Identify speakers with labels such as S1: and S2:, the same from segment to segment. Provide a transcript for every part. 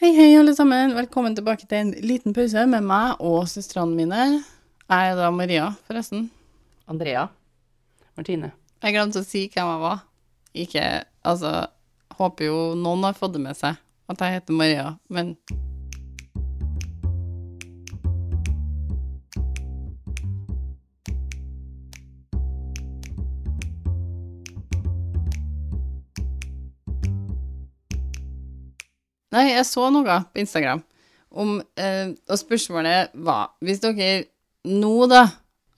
S1: Hei, hei, alle sammen. Velkommen tilbake til en liten pause med meg og søstrene mine. Jeg er da Maria, forresten.
S2: Andrea. Martine.
S1: Jeg glemte å si hvem jeg var. Ikke Altså, håper jo noen har fått det med seg at jeg heter Maria, men Nei, jeg så noe på Instagram om eh, Og spørsmålet var Hvis dere nå, da,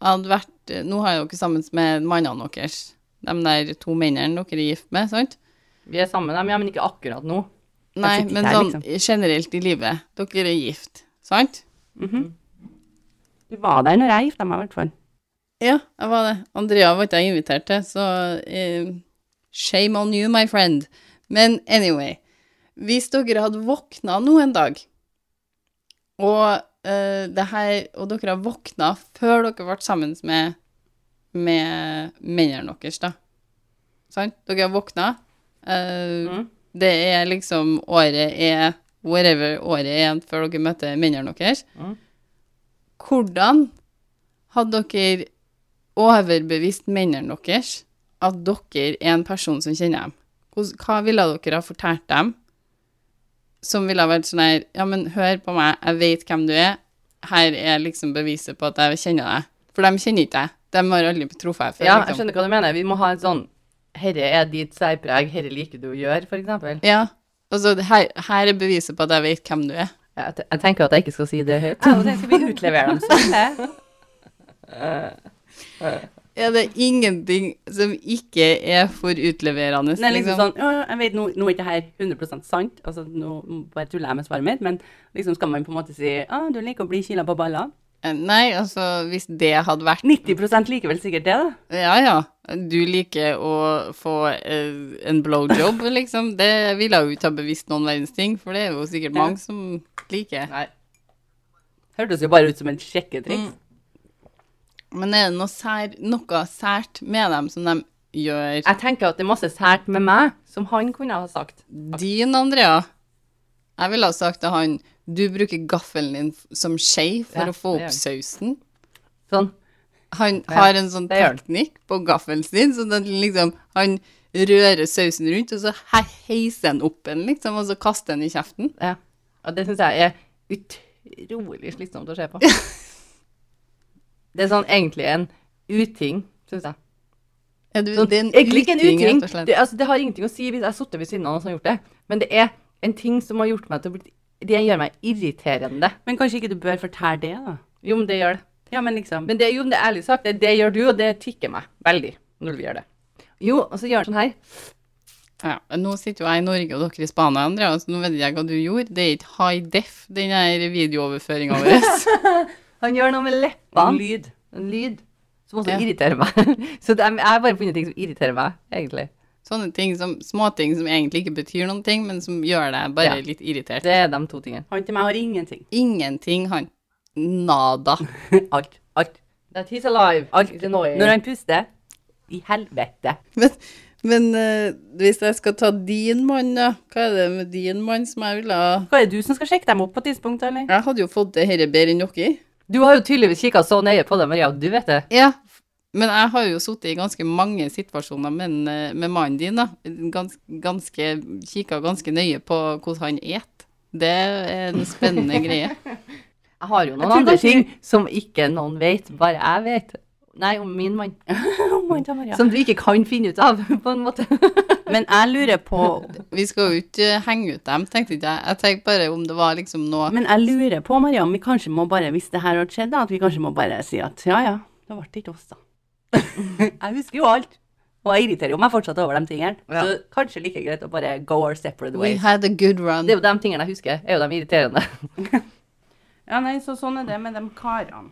S1: hadde vært Nå har dere sammen med mannene deres, de der to mennene dere er gift med, sant?
S2: Vi er sammen, ja, men ikke akkurat nå.
S1: Nei,
S2: Jeg sitter
S1: men
S2: her,
S1: sånn
S2: liksom.
S1: generelt i livet. Dere er gift, sant?
S2: Du var der når jeg gifta meg, i hvert fall.
S1: Ja, jeg var det. Andrea var ikke jeg invitert til, så eh, shame on you, my friend. Men anyway, hvis dere hadde våkna nå en dag, og, eh, det her, og dere har våkna før dere ble sammen med, med mennene deres, da. Sant? Dere har våkna. eh,
S2: Mhm.
S1: Det er liksom året er whatever året er før dere møter mennene deres.
S2: Mhm.
S1: Hvordan hadde dere overbevist mennene deres at dere er en person som kjenner dem? Hvordan- Hva ville dere ha fortalt dem som ville ha vært sånn her Ja, men hør på meg, jeg vet hvem du er. Her er liksom beviset på at jeg kjenner deg. For de kjenner ikke deg. De har aldri truffet deg før.
S2: Ja, jeg
S1: liksom.
S2: skjønner hva du mener. Vi må ha en sånn Herre er ditt særpreg, herre liker du å gjøre, for eksempel.
S1: Ja. Altså, det her, her er beviset på at jeg vet hvem du er.
S2: Jeg, te- jeg tenker at jeg ikke skal si det høyt. skal vi utlevere dem
S1: Ja, det er ingenting som ikke er for utleverende.
S2: Nei, liksom
S1: liksom.
S2: sånn, «Å, jeg vet, nå, nå er ikke dette 100 sant, altså, nå bare tuller jeg med svaret mitt, men liksom skal man på en måte si «Å, du liker å bli kila på baller».
S1: Nei, altså, hvis det hadde vært
S2: 90 liker vel sikkert det, da.
S1: Ja, ja. Du liker å få eh, en blowjob, liksom. Det ville jo ikke ha bevisst noen verdens ting, for det er jo sikkert mange som liker.
S2: Nei. Hørtes jo bare ut som en sjekketriks.
S1: Men er det noe, sær, noe sært med dem som de gjør?
S2: Jeg tenker at det er masse sært med meg, som han kunne ha sagt.
S1: Din, Andrea. Jeg ville ha sagt til han du bruker gaffelen din f- som skje for
S2: Ja,
S1: å få
S2: det gjør
S1: opp sausen.
S2: Sånn.
S1: Han
S2: Ja,
S1: har en sånn
S2: det gjør han.
S1: teknikk på gaffelen sin, så den liksom, han rører sausen rundt, og så he- heiser han opp en, liksom, og så kaster han i kjeften.
S2: Ja. Og det syns jeg er utrolig slitsomt å se på. det er sånn egentlig en uting, syns jeg.
S1: Ja, du,
S2: Sånn,
S1: det er en
S2: egentlig ikke en
S1: uting,
S2: uting.
S1: rett og slett.
S2: Det, altså, det har ingenting å si hvis jeg har sittet ved siden av noen som har gjort det, men det er en ting som har gjort meg til å bli Det gjør meg irriterende.
S3: Men kanskje ikke du bør fortelle det, da?
S2: Jo, men det gjør det.
S3: Ja, men liksom
S2: Men det, jo, men det er ærlig sagt, det, det gjør du, og det tikker meg veldig når du gjør det. Jo, og så gjør han sånn her.
S1: Ja, nå sitter jo jeg i Norge og dere i Spania, Andrea, så nå vet jeg hva du gjorde. Det er ikke high def, den her videooverføringa vår.
S2: Han gjør noe med
S3: En
S2: leppene.
S3: lyd.
S2: En lyd. Som også
S1: Ja.
S2: irriterer meg. Så det er, jeg har bare funnet ting som irriterer meg, egentlig.
S1: Sånne ting som, småting som egentlig ikke betyr noen ting, men som gjør deg bare
S2: Ja.
S1: litt irritert.
S2: Det er de to tingene.
S3: Han til meg har ingenting.
S1: Ingenting, han. Nada.
S3: Alt. Alt.
S2: That he's alive. Alt er noe.
S3: Når han puster I helvete.
S1: Men, men eh, hvis jeg skal ta din mann, da, hva er det med din mann som jeg ville ha
S3: Hva er det du som skal sjekke dem opp på tidspunktet, eller?
S1: Jeg hadde jo fått det dette bedre enn dere.
S2: Du har jo tydeligvis kikka så nøye på det, Maria, og du vet det.
S1: Ja. Men jeg har jo sittet i ganske mange situasjoner med, en, eh, med mannen din, da. Gans, ganske Kikka ganske nøye på hvordan han et. Det er en spennende greie.
S2: Jeg har jo noen
S3: tror
S2: andre
S3: kanskje-
S2: ting som ikke noen vet, bare jeg vet. Nei, om min mann.
S3: Å, mann til Maria.
S2: Som du ikke kan finne ut av, på en måte.
S3: Men jeg lurer på
S1: Vi skal jo ikke eh, henge ut dem, tenkte ikke jeg. Jeg tenkte bare om det var liksom noe
S3: Men jeg lurer på, Maria, om vi kanskje må bare, hvis det her hadde skjedd, da, at vi kanskje må bare si at ja, ja, det ble ikke oss, da. jeg husker jo alt. Og jeg irriterer jo meg fortsatt over de tingene.
S2: Ja.
S3: Så kanskje like greit å bare go our separate
S1: We
S3: ways.
S1: had a good run.
S2: Det er jo de tingene jeg husker, er jo de irriterende.
S3: Ja, nei, så sånn er det med de karene.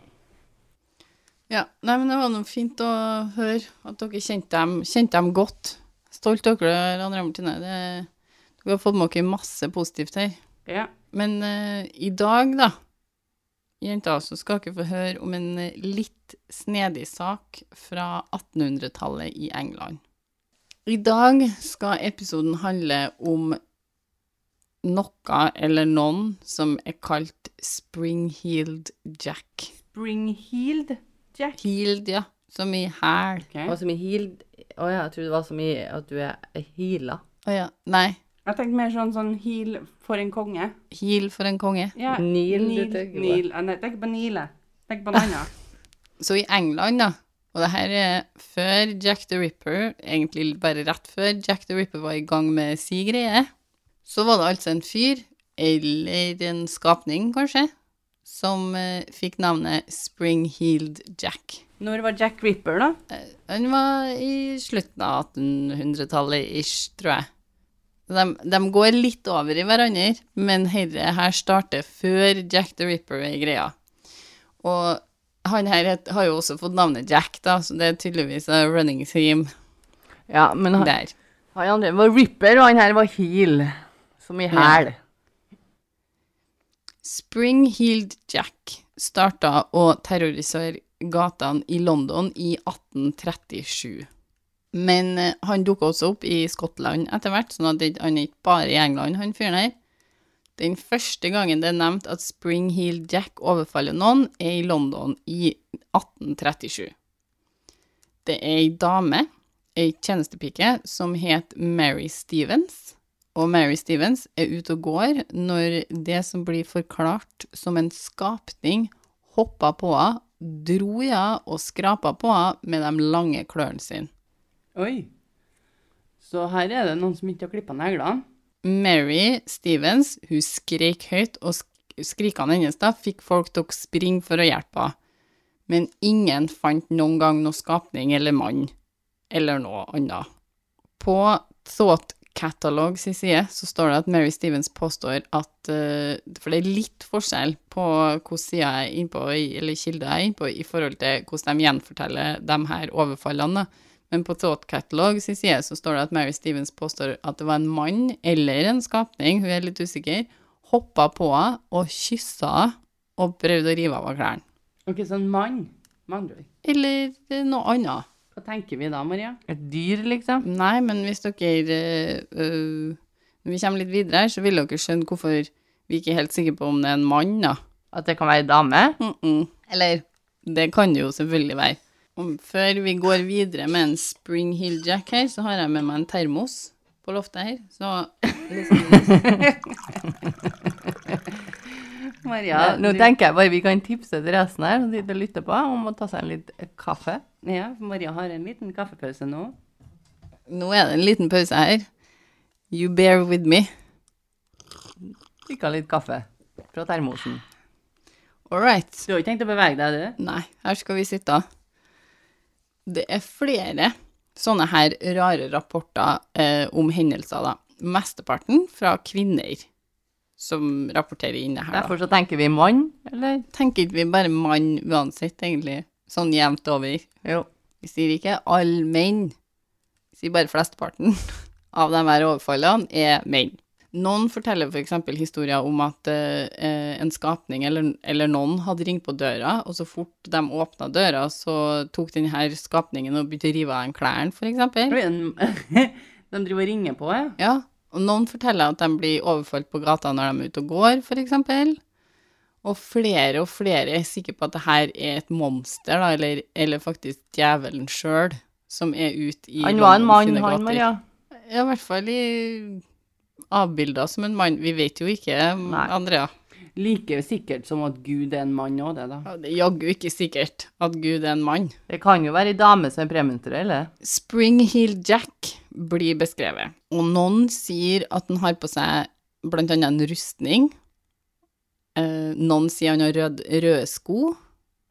S1: Ja, nei, men det var noe fint å høre at dere kjente dem, kjente dem godt. Stolt av dere, Andre og Martine. Det, dere har fått med dere masse positivt her.
S3: Ja.
S1: Men eh, i dag, da, jenter, så skal dere få høre om en eh, litt snedig sak fra 1800-tallet i England. I dag skal episoden handle om noe eller noen som er kalt spring-heeled jack.
S3: Spring healed jack.
S1: Heeled, ja. Som i hæl.
S2: Og så mye heal Å ja, jeg trodde det var så mye at du er heala.
S1: Å ja. Nei.
S3: Jeg tenkte mer sånn, sånn heal for en konge.
S1: Heel for en konge.
S3: Ja,
S2: Kneel, du
S3: kneel,
S2: tenker på.
S3: kneel. Eh, Nei, tenk på Nile. Tenk på noe annet.
S1: Så i England, da, og det her er før Jack the Ripper, egentlig bare rett før Jack the Ripper var i gang med si greie, så var det altså en fyr, eller en skapning kanskje, som eh, fikk navnet Spring-Heeled Jack.
S3: Når var Jack Ripper, da?
S1: Han var i slutten av 1800-tallet-ish, tror jeg. De, de går litt over i hverandre, men herre her starter før Jack the Ripper er greia. Og han her het, har jo også fått navnet Jack, da, så det er tydeligvis a running theme
S2: Ja, men han,
S1: der.
S2: han andre var ripper, og han her var heal. Som i hæl.
S1: Spring-Heeled Jack starta å terrorisere gatene i London i 1837. Men eh, han dukka også opp i Skottland etter hvert, sånn at det- han er ikke bare i England, han fyren her. Den første gangen det er nevnt at Spring-Heeled Jack overfaller noen, er i London i 1837. Det er ei dame, ei tjenestepike, som het Mary Stevens og Mary Stevens er ute og går når det som blir forklart som en skapning, hoppa på henne, dro i henne og skrapa på henne med de lange klørne sine.
S3: Oi. Så her er det noen som ikke har klippa neglene.
S1: Mary Stevens hun skrek høyt, og sk skrikene hennes da fikk folk til å springe for å hjelpe henne. Men ingen fant noen gang noe skapning eller mann, eller noe annet. På Thought Catalog sin side så står det at Mary Stevens påstår at eh, For det er litt forskjell på hvilken side jeg er innpå, eller kilde jeg er innpå, i forhold til hvordan de gjenforteller de her overfallene. da. Men på Thought Catalog sin side så står det at Mary Stevens påstår at det var en mann eller en skapning, hun er litt usikker, hoppa på henne og kyssa henne og prøvde å rive av henne klærne.
S3: Ok, så en mann. Med andre ord.
S1: Eller eh, noe annet.
S3: Hva tenker vi da, Maria?
S2: Et dyr, liksom.
S1: Nei, men hvis dere eh, øh, Når vi kommer litt videre her, så vil dere skjønne hvorfor vi ikke er helt sikre på om det er en mann, da.
S2: At det kan være ei dame.
S1: Mm -mm. Eller Det kan det jo selvfølgelig være. Om, før vi går videre med en Spring Hill Jack her, så har jeg med meg en termos på loftet her. Så
S3: Maria,
S2: Eh, Nå
S3: du-
S2: tenker jeg bare vi kan tipse til resten her som sitter og lytter på, om å ta seg en litt kaffe.
S3: ja, Maria har en liten kaffepause nå.
S1: nå er det en liten pause her. You bear with me.
S2: Drikke litt kaffe fra termosen.
S1: All right.
S3: Du har ikke tenkt å bevege deg, du?
S1: Nei, her skal vi sitte. Det er flere sånne her rare rapporter eh, om hendelser, da. Mesteparten fra kvinner som rapporterer inn det her. Da.
S2: Derfor så tenker vi mann, eller?
S1: Tenker ikke vi bare mann uansett, egentlig, sånn jevnt over.
S2: Jo.
S1: Vi sier ikke all menn, vi sier bare flesteparten av de her overfallene er menn. Noen forteller f.eks. eksempel historier om at eh, eh, en skapning eller, eller noen hadde ringt på døra, og så fort de åpna døra, så tok denne skapningen og begynte å rive av dem klærne, f.eks.
S3: Oi, en- De driver og ringer på, ja.
S1: Ja, og noen forteller at de blir overfalt på gata når de er ute og går, f.eks. Og flere og flere er sikre på at det her er et monster, da, eller, eller faktisk djevelen sjøl, som er ute i
S2: Han var
S1: London
S2: en mann,
S1: sine
S2: han,
S1: gater.
S2: Maria.
S1: Ja, i hvert fall i avbilder som en mann. Vi vet jo ikke,
S2: Nei.
S1: Andrea.
S3: Like sikkert som at Gud er en mann òg, det, da.
S1: Ja, Det er jaggu ikke sikkert at Gud er en mann.
S2: Det kan jo være ei dame som er premenstruell, det.
S1: Springheel Jack blir beskrevet, og noen sier at han har på seg blant annet en rustning. Eh, noen sier han har rød, røde sko,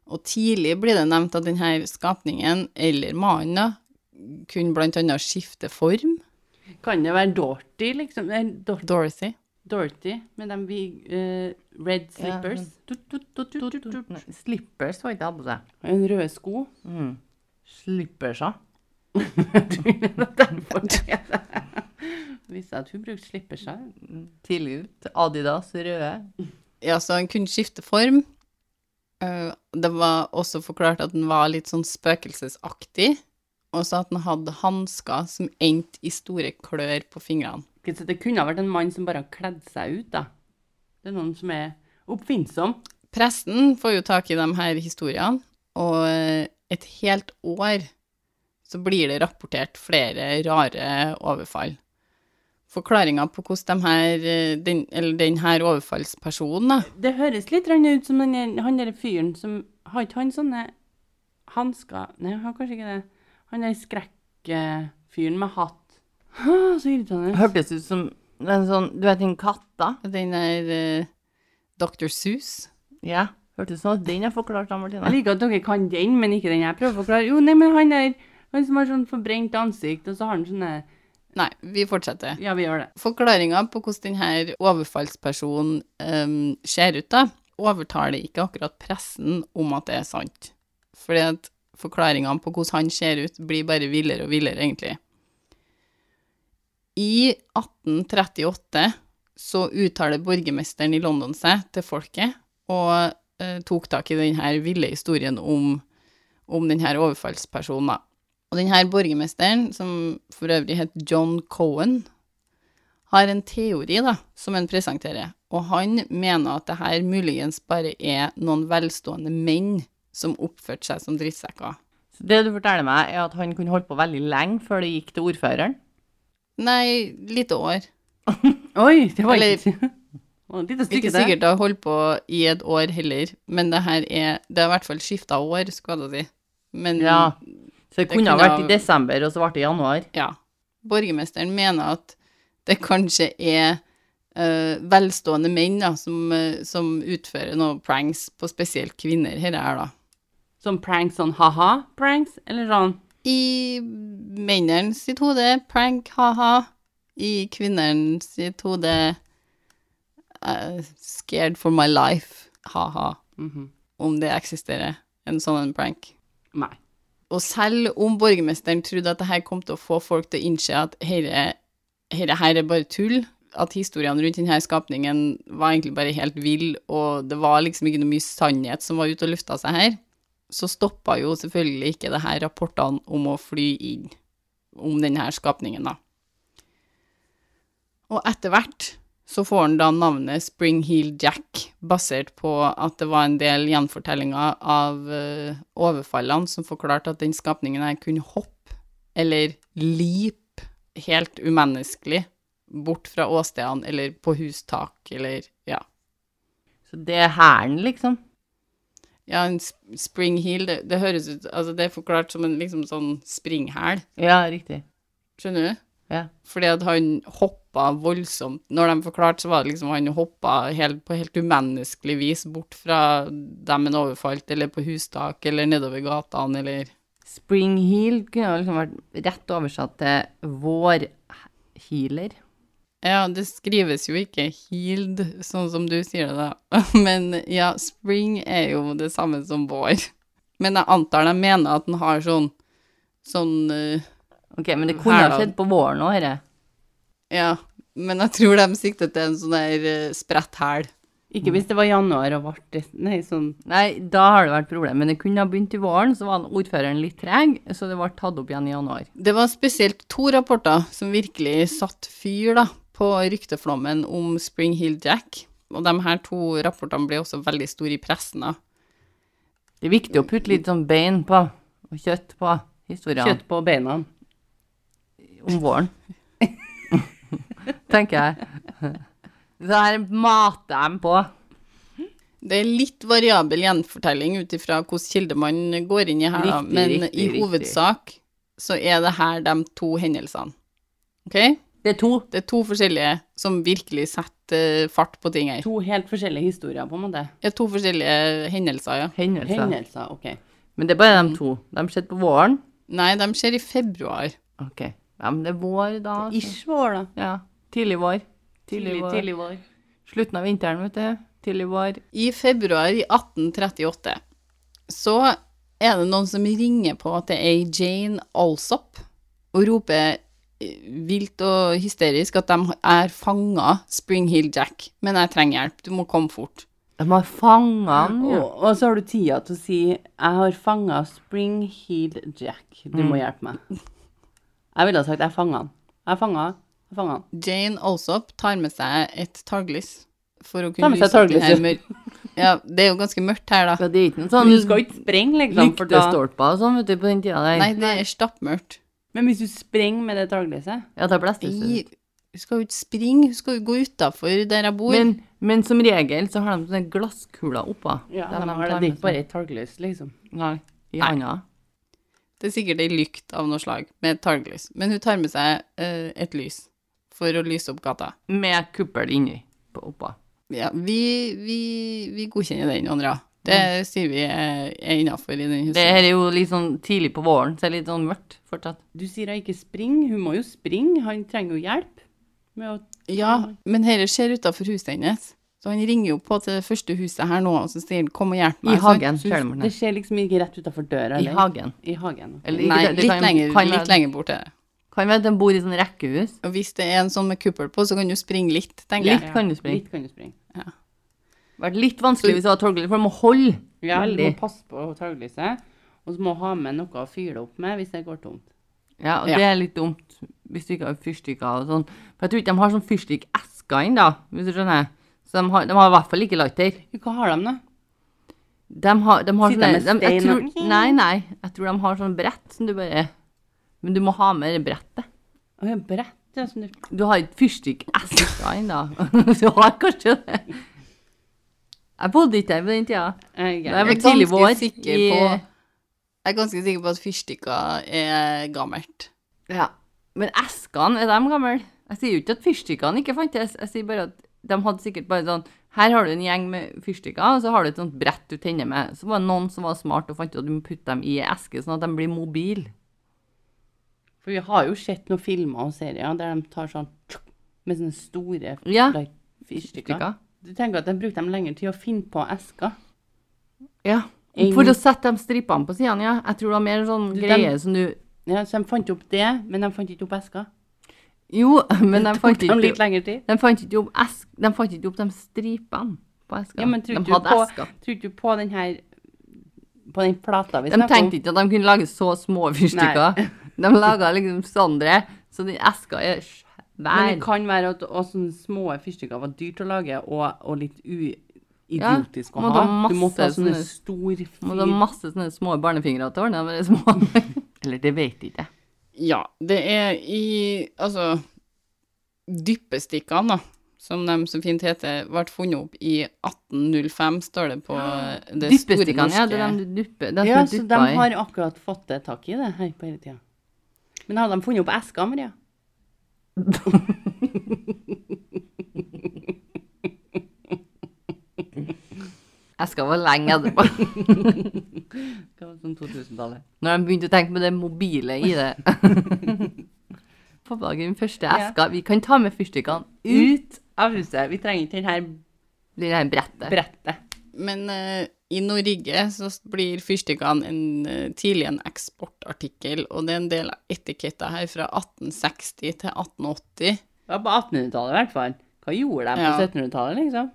S1: og tidlig blir det nevnt at denne skapningen, eller mannen, da, kunne blant annet skifte form.
S3: Kan det være Dorothy, liksom? Nei, Dor
S1: Dorothy.
S3: Dorothy med de vi- eh, red
S2: Ja,
S3: slippers.
S2: sånn. Tut, tut, tut, tut, tut, tut. Nei, Slippers var ikke jeg på seg.
S3: Og en rød sko.
S2: Mm. Slippersa.
S3: Derfor er det. Visste jeg at hun brukte slippers her.
S2: Tidlig ut. Adidas, røde.
S1: Ja, så han kunne skifte form. Eh, Det var også forklart at den var litt sånn spøkelsesaktig, og så at den hadde hansker som endte i store klør på fingrene.
S3: Ok, tenker seg, det kunne ha vært en mann som bare har kledd seg ut, da. Det er noen som er oppfinnsom.
S1: Presten får jo tak i de her historiene, og eh, et helt år så blir det rapportert flere rare overfall. Forklaringa på hvordan de her, eh, den, eller den her overfallspersonen da,
S3: Det høres litt grann ut som den, han der fyren som Har ikke han sånne hansker Nei, han har kanskje ikke det. Han der skrekkfyren med hatt. Hå, så irriterende.
S2: Hørtes ut som en sånn Du vet den katta?
S1: den der eh, Dr. Seuss
S2: Ja. Hørtes ut som at den er forklart av Martine.
S3: Jeg liker at dere kan den, men ikke den jeg prøver å forklare. Jo, nei, men han der han som har sånn forbrent ansikt, og så har han sånne
S1: Nei, vi fortsetter.
S3: Ja, vi gjør det.
S1: Forklaringa på hvordan denne overfallspersonen em, ser ut, da, overtaler ikke akkurat pressen om at det er sant. Fordi at forklaringene på hvordan han ser ut, blir bare villere og villere, egentlig. I 1838 så uttaler borgermesteren i London seg til folket og eh, tok tak i denne ville historien om, om denne overfallspersonen. da. Og denne borgermesteren, som for øvrig het John Cohen, har en teori da, som han presenterer, og han mener at det her muligens bare er noen velstående menn som oppførte seg som drittsekker.
S2: Så Det du forteller meg, er at han kunne holdt på veldig lenge før det gikk til ordføreren.
S1: Nei, lite år.
S3: Oi, det var
S1: Eller-
S3: ikke Det var Et lite stykke
S1: Ikke
S3: der.
S1: sikkert det har holdt på i et år heller, men det her er, det har i hvert fall skiftet år, skal jeg si. Men
S2: Ja. Så det,
S1: Det
S2: kunne ha
S1: kunne
S2: vært
S1: ha-
S2: i desember, og så ble det i januar.
S1: ja. Borgermesteren mener at det kanskje er eh, velstående menn da, som, eh, som utfører noen pranks på spesielt kvinner her, her da.
S3: Sånn pranks, sånn ha-ha-pranks, eller sånn
S1: I mennene sitt hode prank, ha-ha. I kvinnene sitt hode eh, scared for my life, ha-ha.
S3: Mhm.
S1: Om det eksisterer en sånn en prank.
S3: Nei.
S1: Og selv om borgermesteren trodde at det her kom til å få folk til å innse at herre, herre her er bare tull, at historiene rundt denne skapningen var egentlig bare helt vill, og det var liksom ikke noe mye sannhet som var ute og lufta seg her, så stoppa jo selvfølgelig ikke det her rapportene om å fly inn om denne skapningen, da. Og etter hvert så får han da navnet Spring Heel Jack, basert på at det var en del gjenfortellinger av eh, overfallene som forklarte at den skapningen her kunne hoppe, eller leap, helt umenneskelig, bort fra åstedene, eller på hustak, eller ja.
S2: Så det er hæren, liksom.
S1: Ja, en sp- spring heel, det, det høres ut, altså det er forklart som en liksom sånn springhæl,
S2: Ja, riktig.
S1: skjønner du?
S2: Ja.
S1: Fordi at han hoppa voldsomt. Når de forklarte, så var det liksom han hoppa helt, på helt umenneskelig vis bort fra dem han overfalt, eller på hustak, eller nedover gatene, eller
S2: Spring heel kunne jo liksom vært rett oversatt til vårhealer.
S1: Ja, det skrives jo ikke healed, sånn som du sier det, da. Men ja, spring er jo det samme som vår. Men jeg antar de mener at den har sånn sånn eh,
S2: Ok, men det kunne ha
S1: Hæler.
S2: skjedd på våren òg, dette.
S1: Ja. Men jeg tror de sikter til en sånn der eh, spredt hæl.
S3: Ikke hvis det var januar og vart det- Nei, sånn
S2: Mm. Nei, da har det vært problem, men det kunne ha begynt i våren, så var ordføreren litt treg, så det ble tatt opp igjen i januar.
S1: Det var spesielt to rapporter som virkelig satt fyr da, på rykteflommen om Spring Hill Jack, og de her to rapportene ble også veldig store i pressen. da.
S2: Det er viktig å putte litt sånn bein på, og kjøtt på, historien
S3: kjøtt på beina.
S2: om våren. Tenker jeg. Så her mater de på.
S1: Det er litt variabel gjenfortelling ut ifra hvilken kilde man går inn i her, da.
S2: Riktig,
S1: men
S2: riktig,
S1: i
S2: riktig.
S1: hovedsak så er det her de to hendelsene. Ok?
S2: Det er to.
S1: Det er to forskjellige som virkelig setter fart på ting her.
S3: To helt forskjellige historier, på en måte.
S1: Det er to forskjellige hendelser, ja.
S2: Hendelser.
S3: Hendelser, OK.
S2: Men det er bare de to. De skjedde på våren.
S1: Nei, de skjer i februar.
S2: Ok. Ja, men det er vår da. altså.
S3: Ish vår, da.
S2: Ja. Tidlig vår. Tidlig vår.
S3: vår.
S2: Slutten av vinteren, vet du. Tidlig vår.
S1: I februar i 1838 så er det noen som ringer på at det er Jane Alsop og roper eh, vilt og hysterisk at de er fanga Spring Hill Jack, men jeg trenger hjelp, du må komme fort.
S2: De har fanget han, ja.
S3: Og, og så har du tida til å si 'Jeg har fanga Spring Mm. Heel Jack'. Du må hjelpe meg. Jeg ville ha sagt 'Jeg fanga han'. Jeg fanga Jeg fanger han.
S1: Jane Alsop tar med seg et taglys for å
S3: Tar
S1: kunne
S3: med seg
S1: lyse opp de
S3: taglys,
S1: her
S3: ja.
S1: mør- Ja, det er jo ganske mørkt her, da.
S2: Ja, det er ikke noen
S3: Men
S2: sånn
S3: du skal ikke sprenge, liksom. For da...
S2: lyktestolper og sånn, vet du, på den tida der.
S1: Nei, det er stappmørkt.
S3: Men hvis du sprenger med det taglyset
S2: Ja, da blåser det
S1: I-
S2: ut.
S1: Hun skal jo ikke springe, hun skal jo gå utafor der jeg bor.
S2: Men, men som regel så har de sånne glasskuler oppå. de
S3: de
S2: tar
S3: har
S2: med
S3: det. Det er ikke
S2: seg.
S3: bare et taglys, liksom.
S2: Nei. I
S1: Nei.
S2: handa.
S1: Det er sikkert ei lykt av noe slag, med et taglys. Men hun tar med seg eh, et lys for å lyse opp gata.
S2: Med kuppel inni. På oppå.
S1: Ja, vi, vi, vi godkjenner den, Andrea. Det sier vi er, er innafor i den
S2: Mm. Det
S1: husen.
S2: her er jo litt sånn tidlig på våren, så det er litt sånn mørkt fortsatt.
S3: Du sier hun ikke springer. Hun må jo springe. Han trenger jo hjelp. Med å...
S1: Ja, men dette skjer utafor huset hennes. Så han ringer jo på til det første huset her nå og så sier han, 'kom og hjelp
S2: I
S1: meg'. sant?
S2: hagen,
S3: Så
S2: ser du,
S3: det
S2: Morten.
S3: skjer liksom ikke rett utafor døra,
S2: I
S3: eller?
S2: hagen.
S3: I hagen.
S2: Eller ikke
S1: Nei,
S2: det- det
S1: litt
S2: kan-
S1: lenger,
S2: kan være-
S1: litt lenger bort er det.
S2: Kan være at de bor i sånn rekkehus.
S1: Og hvis det er en sånn med kuppel på, så kan du springe litt, tenker jeg.
S2: Litt kan du springe.
S3: Litt kan du springe.
S2: Vært litt vanskelig hvis du har torgel, for du må holde.
S3: Ja, du må
S2: Veldig.
S3: passe på taglyset. Og så må hun ha med noe å fyre det opp med hvis det går tomt.
S2: Ja, og
S1: Ja.
S2: det er litt dumt hvis du ikke har fyrstikker og sånn. For jeg tror ikke de har sånn fyrstikkesker ennå, hvis du skjønner. Så de har, de har i hvert fall ikke lighter.
S3: Hva har de, da?
S2: De har, de har
S3: Sitter
S2: sånne
S3: de med
S2: de, jeg
S3: stein
S2: tror,
S3: og-
S2: Nei, nei. Jeg tror de har sånn brett som du bare Men du må ha med det brettet.
S3: Å, ja, brett, ja. Som du...
S2: Du har ikke fyrstikkesker ennå. Du har kanskje det. Jeg bodde ikke der på den tida.
S3: Eh,
S2: Da jeg
S3: ja.
S2: var
S1: Jeg er
S2: tidlig
S1: ganske
S2: vår.
S1: sikker
S2: i-
S1: på- Jeg er ganske sikker på at fyrstikker er gammelt.
S2: Ja. Men eskene, er de gamle? Jeg sier jo ikke at fyrstikkene ikke fantes. Jeg sier bare at de hadde sikkert bare sånn Her har du en gjeng med fyrstikker, og så har du et sånt brett du tenner med. Så var det noen som var smart og fant ut at du må putte dem i ei eske, sånn at de blir mobile.
S3: For vi har jo sett noen filmer og serier der de tar sånn tsk, med sånne store
S2: Ja.
S3: like, fyrstikker.
S2: Fyrstikker.
S3: Du tenker at de brukte dem lenger til å finne på esker.
S2: Ja. For å sette de strippene på sidene, ja. Jeg tror det var mer sånn
S3: Du, dem-
S2: greie som du
S3: Ja, så de fant opp det, men de fant ikke opp esker.
S2: Jo, men de fant
S3: De litt
S2: ikke
S3: lengre tid.
S2: De fant ikke opp, esk, de, fant ikke opp de stripene på eska.
S3: Ja, men
S2: de
S3: tror du
S2: hadde
S3: på,
S2: esker.
S3: tror du på den her på den plata vi
S2: De tenkte ikke at de kunne lage så små fyrstikker. De laga liksom Sondre, så den eska er
S3: Men det
S2: svær.
S3: kan være at også sånne små fyrstikker var dyrt å lage, og, og litt uidiotisk
S2: må
S3: å
S2: da
S3: ha. Du måtte ha
S2: masse
S3: sånne
S2: sånne-
S3: store
S2: Og det er
S3: fyr...
S2: masse sånne små barnefingre til årene. Bare små. Eller det vet jeg ikke.
S1: Ja, det er i Altså, dyppestikkene, da, som de så fint heter, ble funnet opp i 1805, står det på eh, det store norske
S2: Dyppestikkene, ja. Det er de du dupper. De
S3: Ja,
S2: som
S3: så
S2: du
S3: de
S2: dupper i.
S3: har akkurat fått det tak i det her på hele tida. Men hadde de funnet opp esker, Maria?
S2: Eska var lenge etterpå.
S3: Det var sånn 2000-tallet.
S2: Når de begynte å tenke på det mobile i det. Pappa den første eska. Vi kan ta med fyrstikkene ut
S3: Ut av huset. Vi trenger ikke den her
S2: det her brettet.
S3: brettet.
S1: Men eh, i Norge så s- blir fyrstikkene en, eh, tidlig en eksportartikkel, og det er en del av etiketta her fra 1860 til 1880.
S3: Det var på 1800-tallet i hvert fall. Hva gjorde de på
S1: Ja.
S3: 1700-tallet, liksom?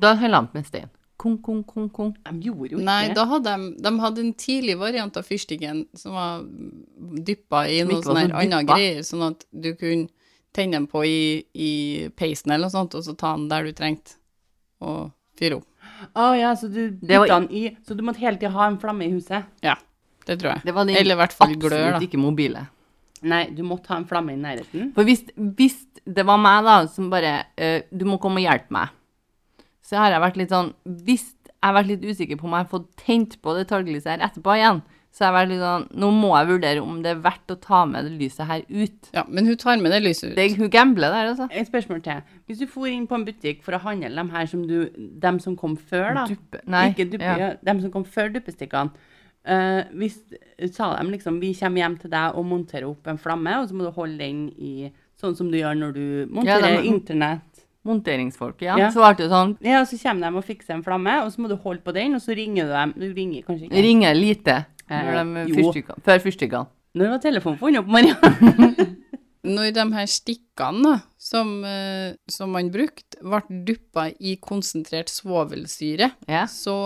S2: Da holder de med stein. Kong, kong, kong, kong.
S3: De gjorde jo ikke
S1: Nei,
S3: det.
S1: da hadde de, de hadde en tidlig variant av fyrstikken som var dyppa i
S2: Som
S1: noe
S2: ikke var
S1: sånn
S2: så
S1: her annet
S2: dyppet.
S1: greier, sånn at du kunne tenne den på i, i peisen eller noe sånt, og så ta den der du trengte å fyre opp.
S3: Å ja, så du
S2: Det var-
S3: dytta den i Så du måtte hele tida ha en flamme i huset?
S1: Ja, det tror jeg.
S2: Det var den
S1: Eller i hvert fall glør, da.
S2: absolutt ikke mobile.
S3: Nei, du måtte ha en flamme i nærheten.
S2: For hvis, hvis det var meg da, som bare, eh, du må komme og hjelpe meg, så har jeg vært litt sånn, hvis jeg har vært litt usikker på om jeg har fått tent på det talglyset her etterpå igjen, så har jeg vært litt sånn, nå må jeg vurdere om det er verdt å ta med det lyset her ut.
S1: Ja, men hun tar med det lyset ut.
S2: Det er hun gambler der, altså.
S3: Et spørsmål til. Hvis du for inn på en butikk for å handle dem her som du Dem som kom før, da.
S2: Duppe, nei.
S3: Ikke duppe,
S2: ja.
S3: ja. dem som kom før duppestikkene. Eh, hvis, sa de liksom Vi kommer hjem til deg og monterer opp en flamme, og så må du holde den i Sånn som du gjør når du monterer
S2: Ja, de-
S3: internett.
S2: Monteringsfolk, ja.
S3: Ja.
S2: Så ble det jo sånn,
S3: Ja, og Så kommer de og fikser en flamme, og så må du holde på den, og så ringer du dem Du ringer kanskje ikke.
S2: ringer lite
S3: Eh,
S2: når de
S3: jo.
S2: fyrstykkene- før fyrstykkene.
S3: Når var telefonen funnet opp, Maria?
S1: Når de her stikkene da, som, eh, som man brukte, ble duppa i konsentrert svovelsyre,
S2: Ja.
S1: så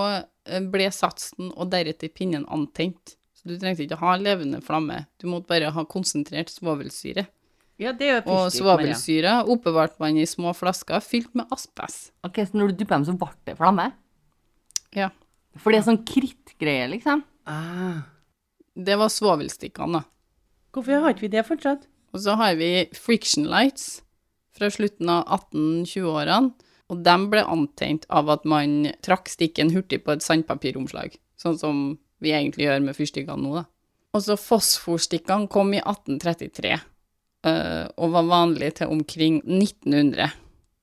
S1: eh, ble satsen og deretter pinnen antent. Så du trengte ikke ha levende flamme, du måtte bare ha konsentrert svovelsyre.
S3: Ja, det er jo
S1: og
S3: fyrstikk, Maria.
S1: svabelsyre oppbevarte man i små flasker fylt med asbest.
S2: Ok, så når du dypper dem, så ble det flamme?
S1: Ja.
S2: For det er sånn krittgreie, liksom.
S3: Ah.
S1: Det var svovelstikkene, da.
S3: Hvorfor har ikke vi det fortsatt?
S1: Og så har vi Friction Lights fra slutten av 1820-årene, og de ble antent av at man trakk stikken hurtig på et sandpapiromslag, sånn som vi egentlig gjør med fyrstikkene nå, da. Og så fosforstikkene kom i 1833, eh, og var vanlige til omkring 1900.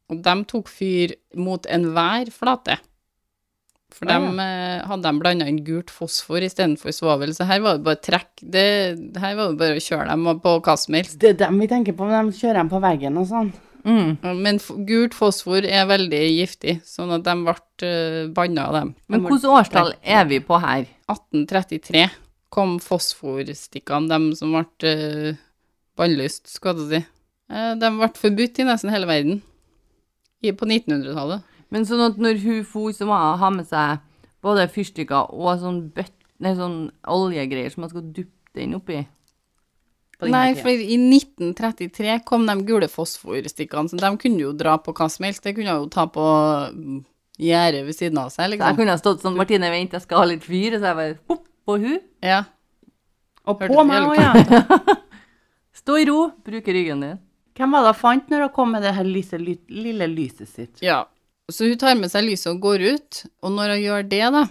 S1: Og de tok fyr mot enhver flate. For
S3: Å, ja.
S1: dem, eh, hadde de blanda inn gult fosfor istedenfor svovel, så her var det bare trekk det, Her var det bare å kjøre dem på hva som helst.
S3: Det er dem vi tenker på, de kjører dem på veggen og sånn.
S2: Mm.
S1: Men f- gult fosfor er veldig giftig, sånn at de ble banna av dem. De
S2: Men
S1: ble-
S2: hvilket årstall er vi på her?
S1: 1833 kom fosforstikkene, de som ble eh, bannlyst, skal jeg til å si. Eh, De ble forbudt i nesten hele verden i- på 1900-tallet.
S2: Men sånn at når hun for, så må hun ha med seg både fyrstikker og sånn bøtt, nei, sånn oljegreier som man skal duppe den oppi.
S3: på den her
S1: Nei,
S3: tiden.
S1: for i 1933 kom de gule fosforstikkene, så de kunne jo dra på hva som helst. De kunne jo ta på mm, gjerdet ved siden av seg,
S2: Så jeg
S1: liksom.
S2: kunne ha stått sånn, Martine, vent, jeg skal ha litt fyr, og så jeg bare, popp, på hun.
S1: Ja.
S3: Og
S1: Hørte
S3: på
S1: du
S3: meg
S1: det,
S3: òg, ja.
S2: Stå i ro, bruke ryggen din.
S3: Hvem var det jeg fant når hun kom med det her lyse, ly, lille lyset sitt?
S1: Ja. Så hun tar med seg lyset og går ut, og når hun gjør det, da,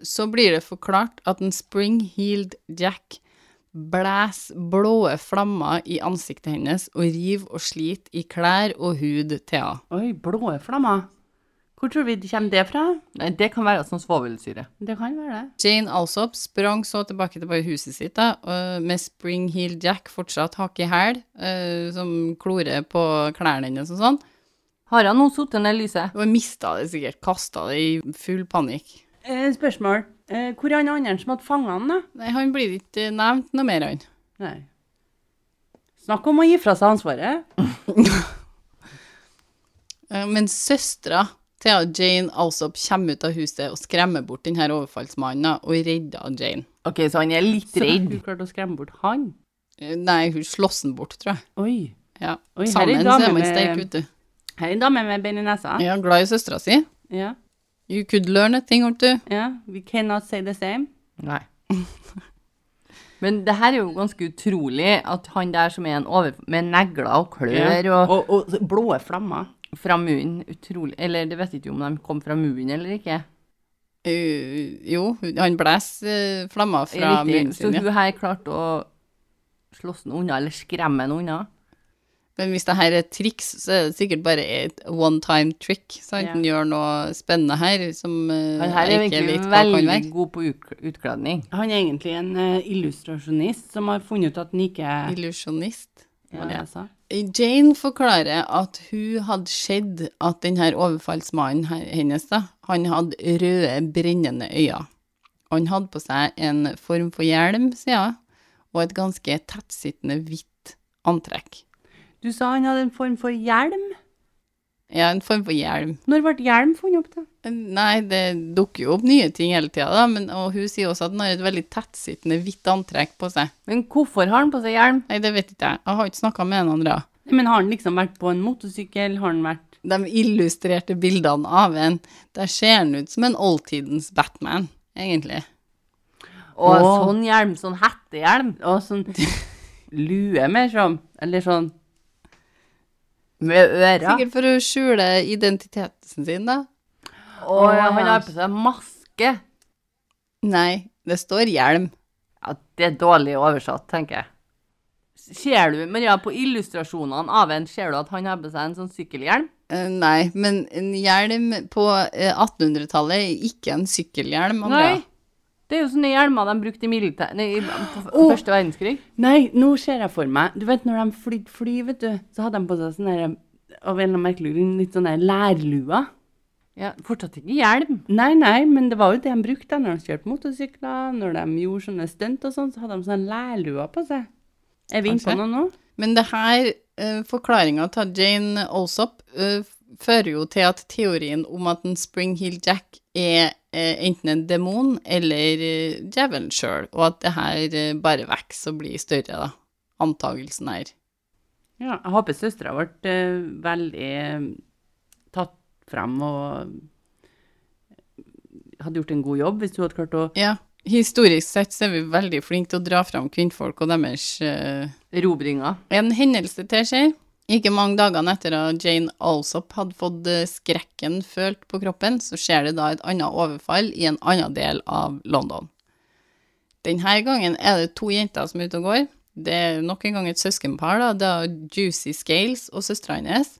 S1: så blir det forklart at en spring-heeled Jack blæs blåe flammer i ansiktet hennes og river og sliter i klær og hud til henne.
S3: Oi, blå flammer. Hvor tror vi det kommer det fra?
S2: Nei, det kan være sånn svovelsyre.
S3: Det kan være det.
S1: Jane Alsop sprang så tilbake til bare huset sitt da, og med spring-heeled Jack fortsatt hakk i hæl, eh, som klorer på klærne hennes og sånn.
S2: Har han nå suttet ned lyset?
S1: Og mista det sikkert, kasta det i full panikk.
S3: Eh, spørsmål. Eh, hvor er han andre som hadde fanget han, da?
S1: Nei, han blir ikke nevnt noe mer, han.
S3: Nei. Snakk om å gi fra seg ansvaret.
S1: Eh, Men søstera til at Jane Alsop kommer ut av huset og skremmer bort denne overfallsmannen og redder Jane.
S2: Ok, så han er litt
S3: Så
S2: redd.
S3: Hun klarte å skremme bort han.
S1: Eh, Nei, hun slåss den bort, tror jeg.
S3: Oi.
S1: Ja.
S3: Oi, her er
S1: Sammen
S3: en
S1: så
S3: dame
S1: er man
S3: med-
S1: sterk, vet du.
S3: Her er en dame med bein i nesa.
S1: Jeg er glad i søstera si.
S3: Ja.
S1: You could learn a thing or two.
S3: ja. We cannot say the same.
S2: Nei. Men det her er jo ganske utrolig at han der som er en over... Med negler og klør og...
S3: Og, og så blå flammer.
S2: Fra munnen, utrolig... Eller, det vet jeg ikke om de kom fra munnen eller ikke.
S1: Eh, jo, han blæser eh, flammer fra
S2: Riktig.
S1: munnen
S2: Så
S1: sin. Ja.
S2: hun her klarte å slåss den unna, eller skremme den unna.
S1: Men hvis det her er et triks, så er det sikkert bare et one time trick. Sant?
S3: Ja.
S1: Han gjør noe spennende her som eh,
S2: Han her er jo
S1: jeg ikke
S2: egentlig
S1: vet hva kan
S2: veldig
S1: være.
S2: god på ut- utkledning.
S3: Han er egentlig en eh, illustrasjonist som har funnet ut at han ikke
S1: Illusjonist.
S3: Hva var det jeg sa?
S1: Jane forklarer at hun hadde sett at denne overfallsmannen her- hennes, da, han hadde røde, brennende øyne. Og Han hadde på seg en form for hjelm, sier hun, og et ganske tettsittende hvitt antrekk.
S3: Du sa han hadde en form for hjelm.
S1: Ja, en form for hjelm.
S3: Når ble hjelm funnet opp, da?
S1: Nei, det dukker jo opp nye ting hele tida, da, men, og hun sier også at han har et veldig tettsittende hvitt antrekk på seg.
S2: Men hvorfor har han på seg hjelm?
S1: Nei, det vet ikke jeg. Jeg har ikke snakka med en andre.
S3: Men har han liksom vært på en motorsykkel? Har han vært
S1: de illustrerte bildene av en, der ser han ut som en oldtidens Batman, egentlig.
S2: Og
S3: Åh.
S2: sånn hjelm, sånn hettehjelm.
S3: Og sånn lue, mer som? Eller sånn
S2: Med ører.
S1: Sikkert for å skjule identiteten sin, da.
S2: Og
S3: Åh,
S2: han
S3: ja.
S2: har på seg maske.
S1: Nei, det står hjelm.
S2: Ja, det er dårlig oversatt, tenker jeg. Ser du, Maria, på illustrasjonene av en, ser du at han har på seg en sånn sykkelhjelm?
S1: Eh, Nei, men en hjelm på eh, 1800-tallet er ikke en sykkelhjelm. Andrea.
S2: Nei. Det er jo sånne hjelmer de brukte i militæret Nei, i- på f-
S3: Åh.
S2: første verdenskrig.
S3: Nei, nå ser jeg for meg Du vet når de flydde fly, vet du, så hadde de på seg sånn derre av en eller annen merkelig grunn litt sånn der lærlua.
S2: Ja, fortsatt ikke hjelm.
S3: Nei, nei, men det var jo det de brukte da, når de kjørte motorsykler, når de gjorde sånne stunt og sånn, så hadde de sånne lærlua på seg. Er vi inne på
S1: Kanskje.
S3: noe nå?
S1: Men det her, uh, forklaringa til Jane Alsop, eh, fører jo til at teorien om at en Spring Hill Jack er eh, enten en demon eller uh, djevelen eh, sjøl, og at det her eh, bare vokser og blir større, da. Antagelsen her.
S3: Ja, jeg håper søstera ble eh, veldig eh, tatt frem og eh, hadde gjort en god jobb hvis hun hadde klart å
S1: Ja. Historisk sett så er vi veldig flinke til å dra fram kvinnfolk og deres eh,
S2: Erobringa.
S1: En hendelse til skjer. Ikke mange dagene etter at Jane Alsop hadde fått eh, skrekken følt på kroppen, så skjer det da et annet overfall i en annen del av London. Denne gangen er det to jenter som er ute og går. Det er nok en gang et søskenpar, da. Det er Juicy Scales og søstera hennes.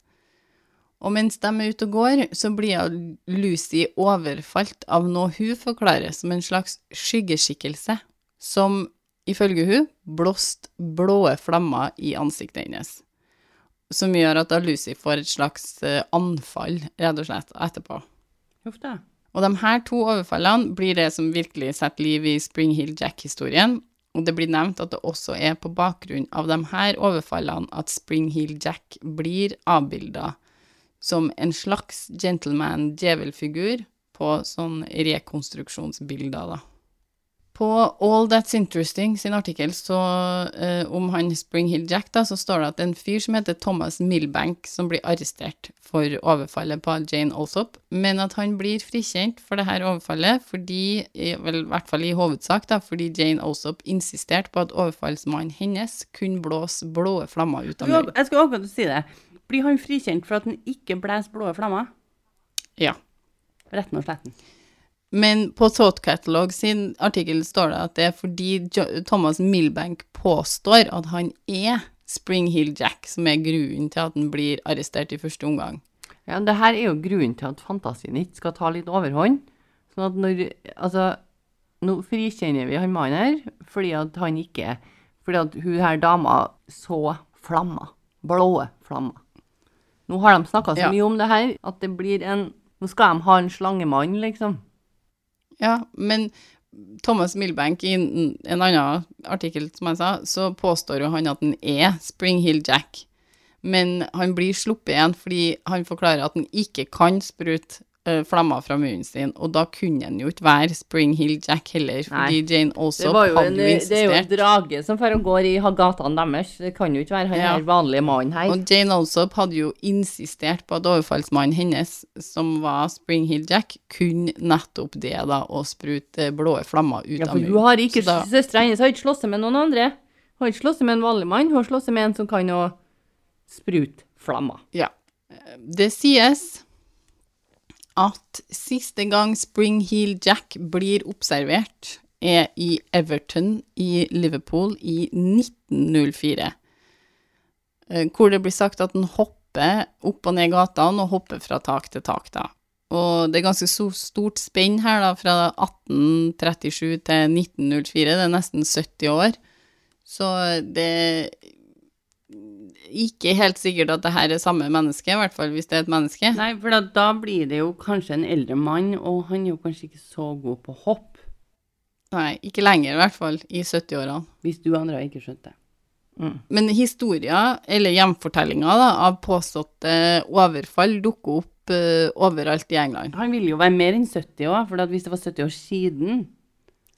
S1: Og mens de er ute og går, så blir Lucy overfalt av noe hun forklarer som en slags skyggeskikkelse, som ifølge hun blåste blåe flammer i ansiktet hennes. Som gjør at da Lucy får et slags eh, anfall, rett og slett, etterpå.
S3: Huff da.
S1: Og de her to overfallene blir det som virkelig setter liv i Spring Hill Jack-historien, og det blir nevnt at det også er på bakgrunn av de her overfallene at Spring Hill Jack blir avbilda som en slags gentleman-djevelfigur på sånn rekonstruksjonsbilder, da. På All That's Interesting sin artikkel så, eh, om han Spring Hill Jack, da, så står det at en fyr som heter Thomas Milbank, som blir arrestert for overfallet på Jane Alsop, men at han blir frikjent for det her overfallet fordi, i- vel, i hvert fall i hovedsak, da, fordi Jane Alsop insisterte på at overfallsmannen hennes kunne blåse blå flammer ut av
S3: Jeg
S1: munnen.
S3: skulle- jeg skulle akkurat si det. Blir han frikjent for at han ikke blåser blå flammer?
S1: Ja.
S3: Retten og sletten.
S1: Men på Thought Catalog sin artikkel står det at det er fordi jo Thomas Milbank påstår at han er Spring Hill Jack, som er grunnen til at han blir arrestert i første omgang.
S2: Ja, det her er jo grunnen til at fantasien ikke skal ta litt overhånd. Sånn at når Altså, nå frikjenner vi han mannen her fordi at han ikke Fordi at hun her dama så flammer. Blå flammer. Nå har de snakka så
S1: Ja.
S2: mye om det her at det blir en Nå skal de ha en slangemann, liksom.
S1: Ja, men Thomas Milbank, i en en annen artikkel, som jeg sa, så påstår jo han at han er Spring Hill Jack. Men han blir sluppet igjen fordi han forklarer at han ikke kan sprute eh, flammer fra munnen sin, og da kunne han jo ikke være Spring Hill Jack heller, fordi Jane
S2: Det,
S1: Alsop
S2: var jo
S1: hadde
S2: en, eh,
S1: jo
S2: det er jo en
S1: insistert.
S2: drage som fer og går i gatene deres. Det kan jo ikke være han
S1: Ja.
S2: her vanlige mannen her.
S1: Og Jane Alsop hadde jo insistert på at overfallsmannen hennes, som var Spring Hill Jack, kunne nettopp det, da, å sprute blå flammer ut
S2: Ja,
S1: av
S2: for
S1: munnen.
S2: hun har ikke
S1: Så da-
S2: Søstera hennes har ikke slåss seg med noen andre. Hun har ikke slåss seg med en vanlig mann, hun har slåss seg med en som kan å sprute flammer.
S1: Ja. Det sies at siste gang Spring Heel Jack blir observert, er i Everton i Liverpool i 1904. eh, Hvor det blir sagt at den hopper opp og ned gatene og hopper fra tak til tak, da. Og det er ganske so- stort spenn her, da, fra 1837 til 1904. Det er nesten 70 år. Så eh, det ikke helt sikkert at det her er samme menneske, i hvert fall hvis det er et menneske.
S3: Nei, for da, da blir det jo kanskje en eldre mann, og han er jo kanskje ikke så god på hopp,
S1: Nei, ikke lenger, i hvert fall, i 70-årene.
S3: hvis du andre har ikke skjønt det.
S1: Men historier, eller hjemfortellinger da, av påståtte overfall dukker opp eh, overalt i England.
S3: Han ville jo være mer enn 70 òg, for at hvis det var 70 år siden,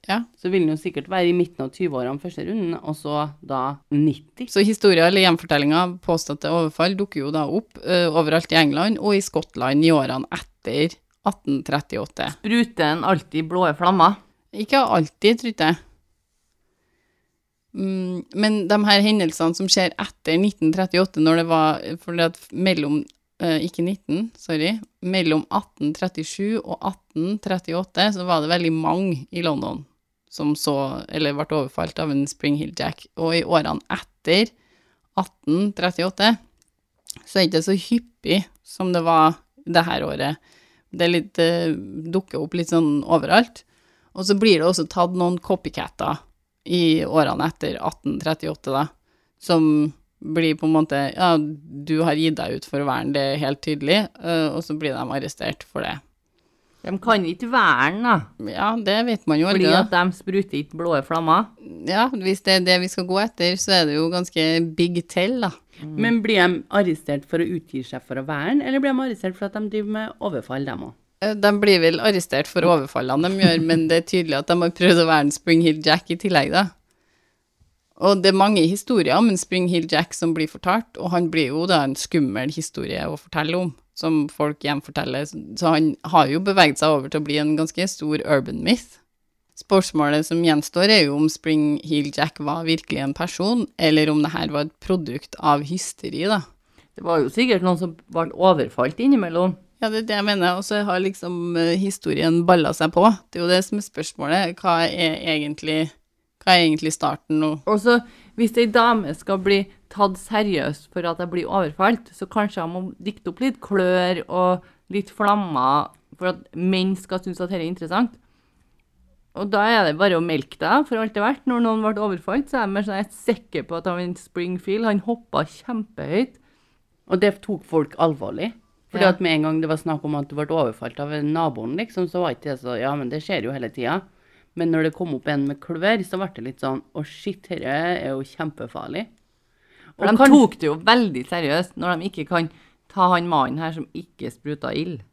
S1: Ja.
S3: så ville han jo sikkert være i midten av 20-årene første runden, og så da 90.
S1: Så historier eller hjemfortellinger av påståtte overfall dukker jo da opp eh, overalt i England og i Skottland i årene etter 1838.
S2: Spruter en alltid blå flammer?
S1: Ikke alltid, tror jeg. Mm, men de her hendelsene som skjer etter 1938, når det var fordi at mellom eh, Ikke 19, sorry. Mellom 1837 og 1838 så var det veldig mange i London som så Eller ble overfalt av en Spring Hill Jack. Og i årene etter 1838 så er det ikke så hyppig som det var det her året. Det er litt, eh, dukker opp litt sånn overalt. Og så blir det også tatt noen copycatter i årene etter 1838, da, som blir på en måte Ja, du har gitt deg ut for å verne det helt tydelig, eh, og så blir de arrestert for det.
S2: De kan ikke være den, da.
S1: Ja, det vet man jo aldri.
S2: Fordi
S1: da.
S2: at de spruter ikke blå flammer.
S1: Ja, hvis det er det vi skal gå etter, så er det jo ganske big tell, da.
S3: Men blir de arrestert for å utgi seg for å være han, eller blir de arrestert for at de driver med overfall, dem òg?
S1: Eh, De blir vel arrestert for overfallene de gjør, men det er tydelig at de har prøvd å være en Spring Hill Jack i tillegg, da. Og det er mange historier om en Spring Hill Jack som blir fortalt, og han blir jo da en skummel historie å fortelle om, som folk gjenforteller. Så han har jo beveget seg over til å bli en ganske stor urban myth. Spørsmålet som gjenstår, er jo om Spring Hill Jack var virkelig en person, eller om det her var et produkt av hysteri, da.
S2: Det var jo sikkert noen som ble overfalt innimellom.
S1: Ja, det er det jeg mener, og så har liksom eh, historien balla seg på. Det er jo det som er spørsmålet. Hva er egentlig, hva er egentlig starten nå?
S2: Og så, hvis ei dame skal bli tatt seriøst for at jeg blir overfalt, så kanskje jeg må dikte opp litt klør og litt flammer for at menn skal synes at dette er interessant. Og da er det bare å melke deg for alt det er verdt. Når noen ble overfalt, så er jeg mer sånn, jeg er sikker på at han Springfield han hoppa kjempehøyt.
S3: Og det tok folk alvorlig. Fordi
S2: Ja.
S3: at med en gang det var snakk om at du ble overfalt av naboen, liksom, så var ikke det så Ja, men det skjer jo hele tida. Men når det kom opp en med klør, så ble det litt sånn Å, shit, dette er jo kjempefarlig.
S2: For de tok det jo veldig seriøst når de ikke kan ta han mannen her som ikke spruta ild.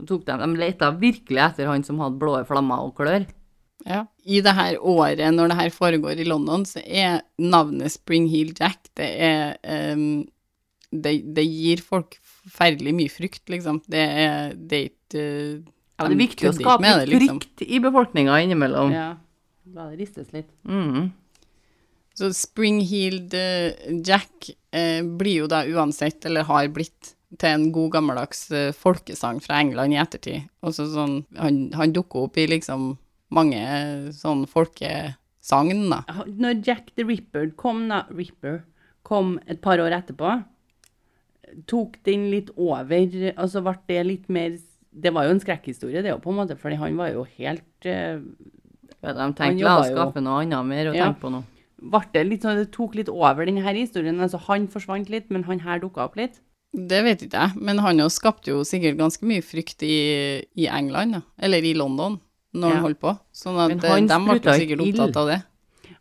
S2: Så tok de, de leta virkelig etter han som hadde blå flammer og klør.
S1: Ja. I det her året, når det her foregår i London, så er navnet Spring Heel Jack Det er ehm, det, det gir folk forferdelig mye frykt, liksom. Det er det er ikke de
S2: Ja, det er viktig å
S1: kødder ikke
S2: skape
S1: med
S2: litt
S1: det, liksom.
S2: frykt i befolkninga innimellom.
S3: Ja. La det ristes litt.
S2: Mm.
S1: Så Spring-heeled eh, Jack eh, blir jo da uansett, eller har blitt, til en god gammeldags eh, folkesang fra England i ettertid. Og så sånn, han, han dukker opp i liksom mange eh, sånn folkesagn, da.
S3: Ja, Når Jack the Ripper kom, da, Ripper kom et par år etterpå, tok den litt over, altså ble det litt mer Det var jo en skrekkhistorie, det er jo på en måte, fordi han var jo helt eh,
S2: Ja, de
S3: Han
S2: tenkte la oss
S3: jobba jo.
S2: skape noe annet mer å
S3: Ja.
S2: tenke på nå.
S3: ble det litt sånn, det tok litt over denne her historien. Altså, han forsvant litt, men han her dukka opp litt.
S1: Det vet ikke jeg, men han jo skapte jo sikkert ganske mye frykt i, i England, da. Eller i London, når
S3: Ja.
S1: han holdt på. Sånn
S2: Men
S1: at eh,
S2: han
S1: de ble
S2: spruta
S1: jo
S2: ikke
S1: sikkert
S2: ild.
S1: opptatt av det.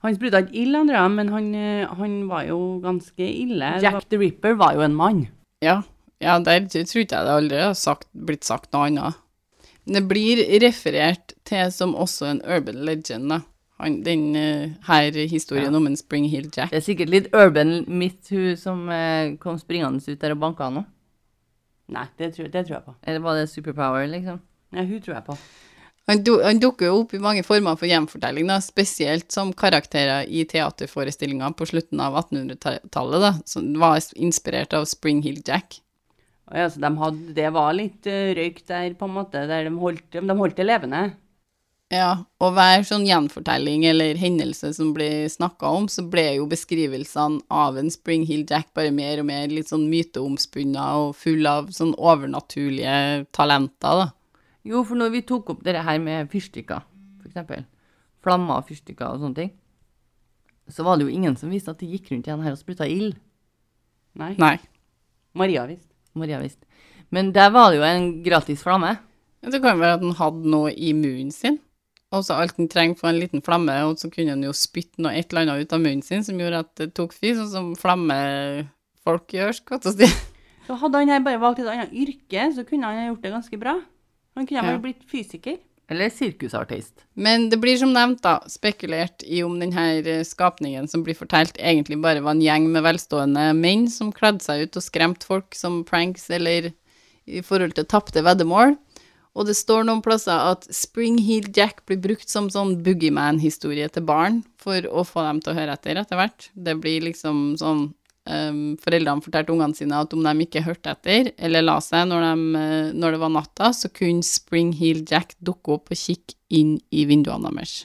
S3: Han spruta ikke ild, Andrea, men han, eh, han var jo ganske ille.
S2: Jack
S3: the Ripper var jo en mann.
S1: Ja, ja der t- tror ikke jeg det aldri har sagt, blitt sagt noe annet. Men det blir referert til som også en urban legend, da. Han, den eh, her historien om en Spring Hill Jack.
S2: Det er sikkert litt urban myth hun som eh, kom springende ut der og banka nå.
S3: Nei, det tror, det tror jeg på.
S2: Eller var det superpower, liksom?
S3: Nei, hun tror jeg på.
S1: Han, du, han dukker jo opp i mange former for gjenfortelling, da, spesielt som karakterer i teaterforestillinger på slutten av 1800-tallet, da, som var inspirert av Spring Hill Jack.
S3: Og ja, så altså, de hadde, det var litt eh, røyk der, på en måte. Der de, holdt, de holdt det levende.
S1: Ja, og hver sånn gjenfortelling eller hendelse som ble snakka om, så ble jo beskrivelsene av en Spring Hill Jack bare mer og mer litt sånn myteomspunna og full av sånn overnaturlige talenter, da.
S2: Jo, for når vi tok opp det her med fyrstikker, for eksempel, flammer og fyrstikker og sånne ting, så var det jo ingen som visste at de gikk rundt igjen her og spruta ild.
S3: Nei.
S1: Nei.
S3: Maria visste.
S2: Maria visste. Men der var det jo en gratis flamme.
S1: Men det kan være at han hadde noe i munnen sin, og så alt han trenger for en liten flamme, og så kunne han jo spytte noe et eller annet ut av munnen sin som gjorde at det tok fyr, sånn som flammefolk gjør, skal jeg til å si.
S3: Så hadde han her bare valgt et annet yrke, så kunne han ha gjort det ganske bra. Han kunne ha
S1: Ja.
S3: bare blitt fysiker.
S2: Eller sirkusartist.
S1: Men det blir som nevnt da, spekulert i om denne skapningen som blir fortalt egentlig bare var en gjeng med velstående menn som kledde seg ut og skremte folk som pranks eller i forhold til tapte veddemål. Og det står noen plasser at Spring Heel Jack blir brukt som sånn boogeyman-historie til barn for å få dem til å høre etter etter hvert. Det blir liksom sånn um, Foreldrene fortalte ungene sine at om de ikke hørte etter eller la seg når, de, eh, når det var natta, så kunne Spring Heel Jack dukke opp og kikke inn i vinduene deres.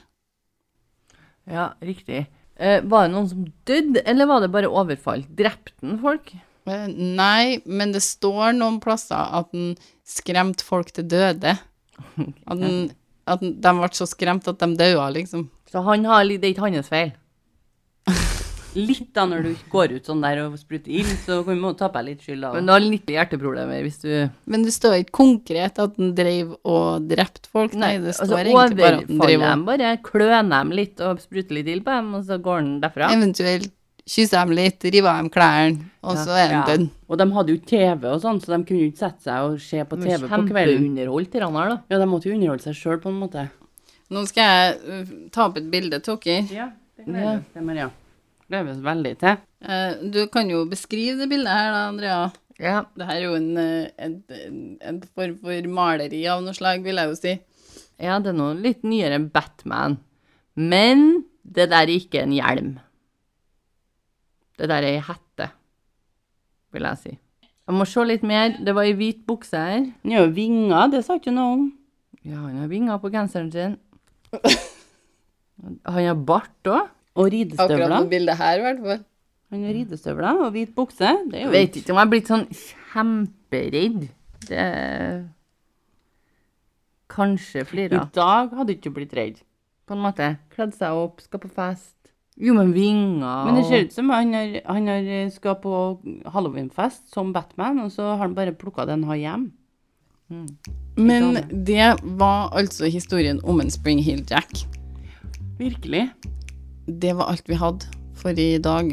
S2: Ja, riktig. Eh, var det noen som døde, eller var det bare overfall? Drepte han folk?
S1: Eh, Nei, men det står noen plasser at den skremte folk til døde. At, den, at den- de ble så skremt at de daua, liksom.
S2: Så han har litt, det er ikke hans feil.
S3: Litt da, når du går ut sånn der og sprutter ild, så kan du ta på deg litt skyld da.
S2: Men du har litt hjerteproblemer hvis du
S1: Men det står ikke konkret at den drev og drepte folk. Nei, det står egentlig bare at den
S2: overfaller
S1: drev og
S2: altså, dem, bare kløner dem litt og spruter litt ild på dem, og så går han derfra.
S1: Eventuelt kysse dem litt, rive av dem klærne, og så er den
S3: Ja.
S1: død.
S3: Og de hadde jo ikke TV og sånn, så de kunne jo ikke sette seg og se på TV på kvelden.
S2: Kjempeunderholdt i Randar, da.
S3: Ja, de måtte jo underholde seg sjøl på en måte.
S1: Nå skal jeg uh, ta opp et bilde til dere.
S3: Ja, det Det gleder vi oss til, Maria. Gleder vi oss veldig til.
S1: Eh, Du kan jo beskrive det bildet her, da, Andrea.
S2: Ja.
S1: Det her er jo en, eh, en, en- en form for maleri av noe slag, vil jeg jo si.
S2: ja, det er noe litt nyere enn Batman. Men det der er ikke en hjelm. Det der er ei hette, vil jeg si. Jeg må se litt mer. Det var ei hvit bukse her.
S3: Den har jo vinger, det sa ikke du noe om.
S2: Ja, han har vinger på genseren sin. Han har bart òg.
S3: Og
S1: Akkurat
S3: ridestøvler.
S1: det bildet her, i hvert fall.
S3: Han har ridestøvler og hvit bukse. Det er jo
S2: Vet ikke om jeg er blitt sånn kjemperedd. Det Kanskje
S3: I
S2: flira,
S3: dag hadde ikke du blitt redd.
S2: på en måte. Kledd seg opp, skal på fest. Jo, men vinger
S3: Men det ser
S2: og
S3: ut som han, har, han har eh, skal på halloweenfest som Batman, og så har han bare plukka den han hjem.
S1: Men det var altså historien om en Spring Hill Jack.
S3: Virkelig.
S1: Det var alt vi hadde for i dag.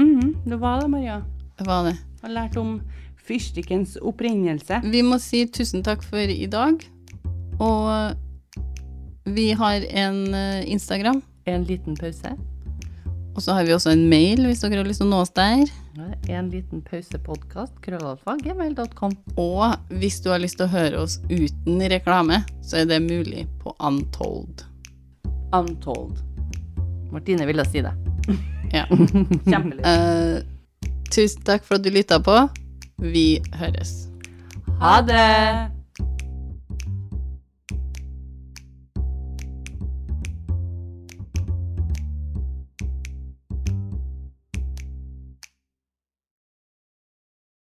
S3: Mhm, det var det, Maria.
S1: Det var det.
S3: Har lært om fyrstikkens opprinnelse.
S1: Vi må si tusen takk for i dag. Og vi har en eh, Instagram.
S2: en liten pause.
S1: Og så har vi også en mail, hvis dere har lyst til å nå oss der.
S2: Ja, En liten pausepodkast, krøllalfa, gmail.com.
S1: Og hvis du har lyst til å høre oss uten reklame, så er det mulig på Untold.
S3: Untold.
S2: Martine ville si det.
S1: Ja.
S3: Kjempelurt.
S1: Eh, tusen takk for at du lytta på. Vi høres.
S2: Ha det!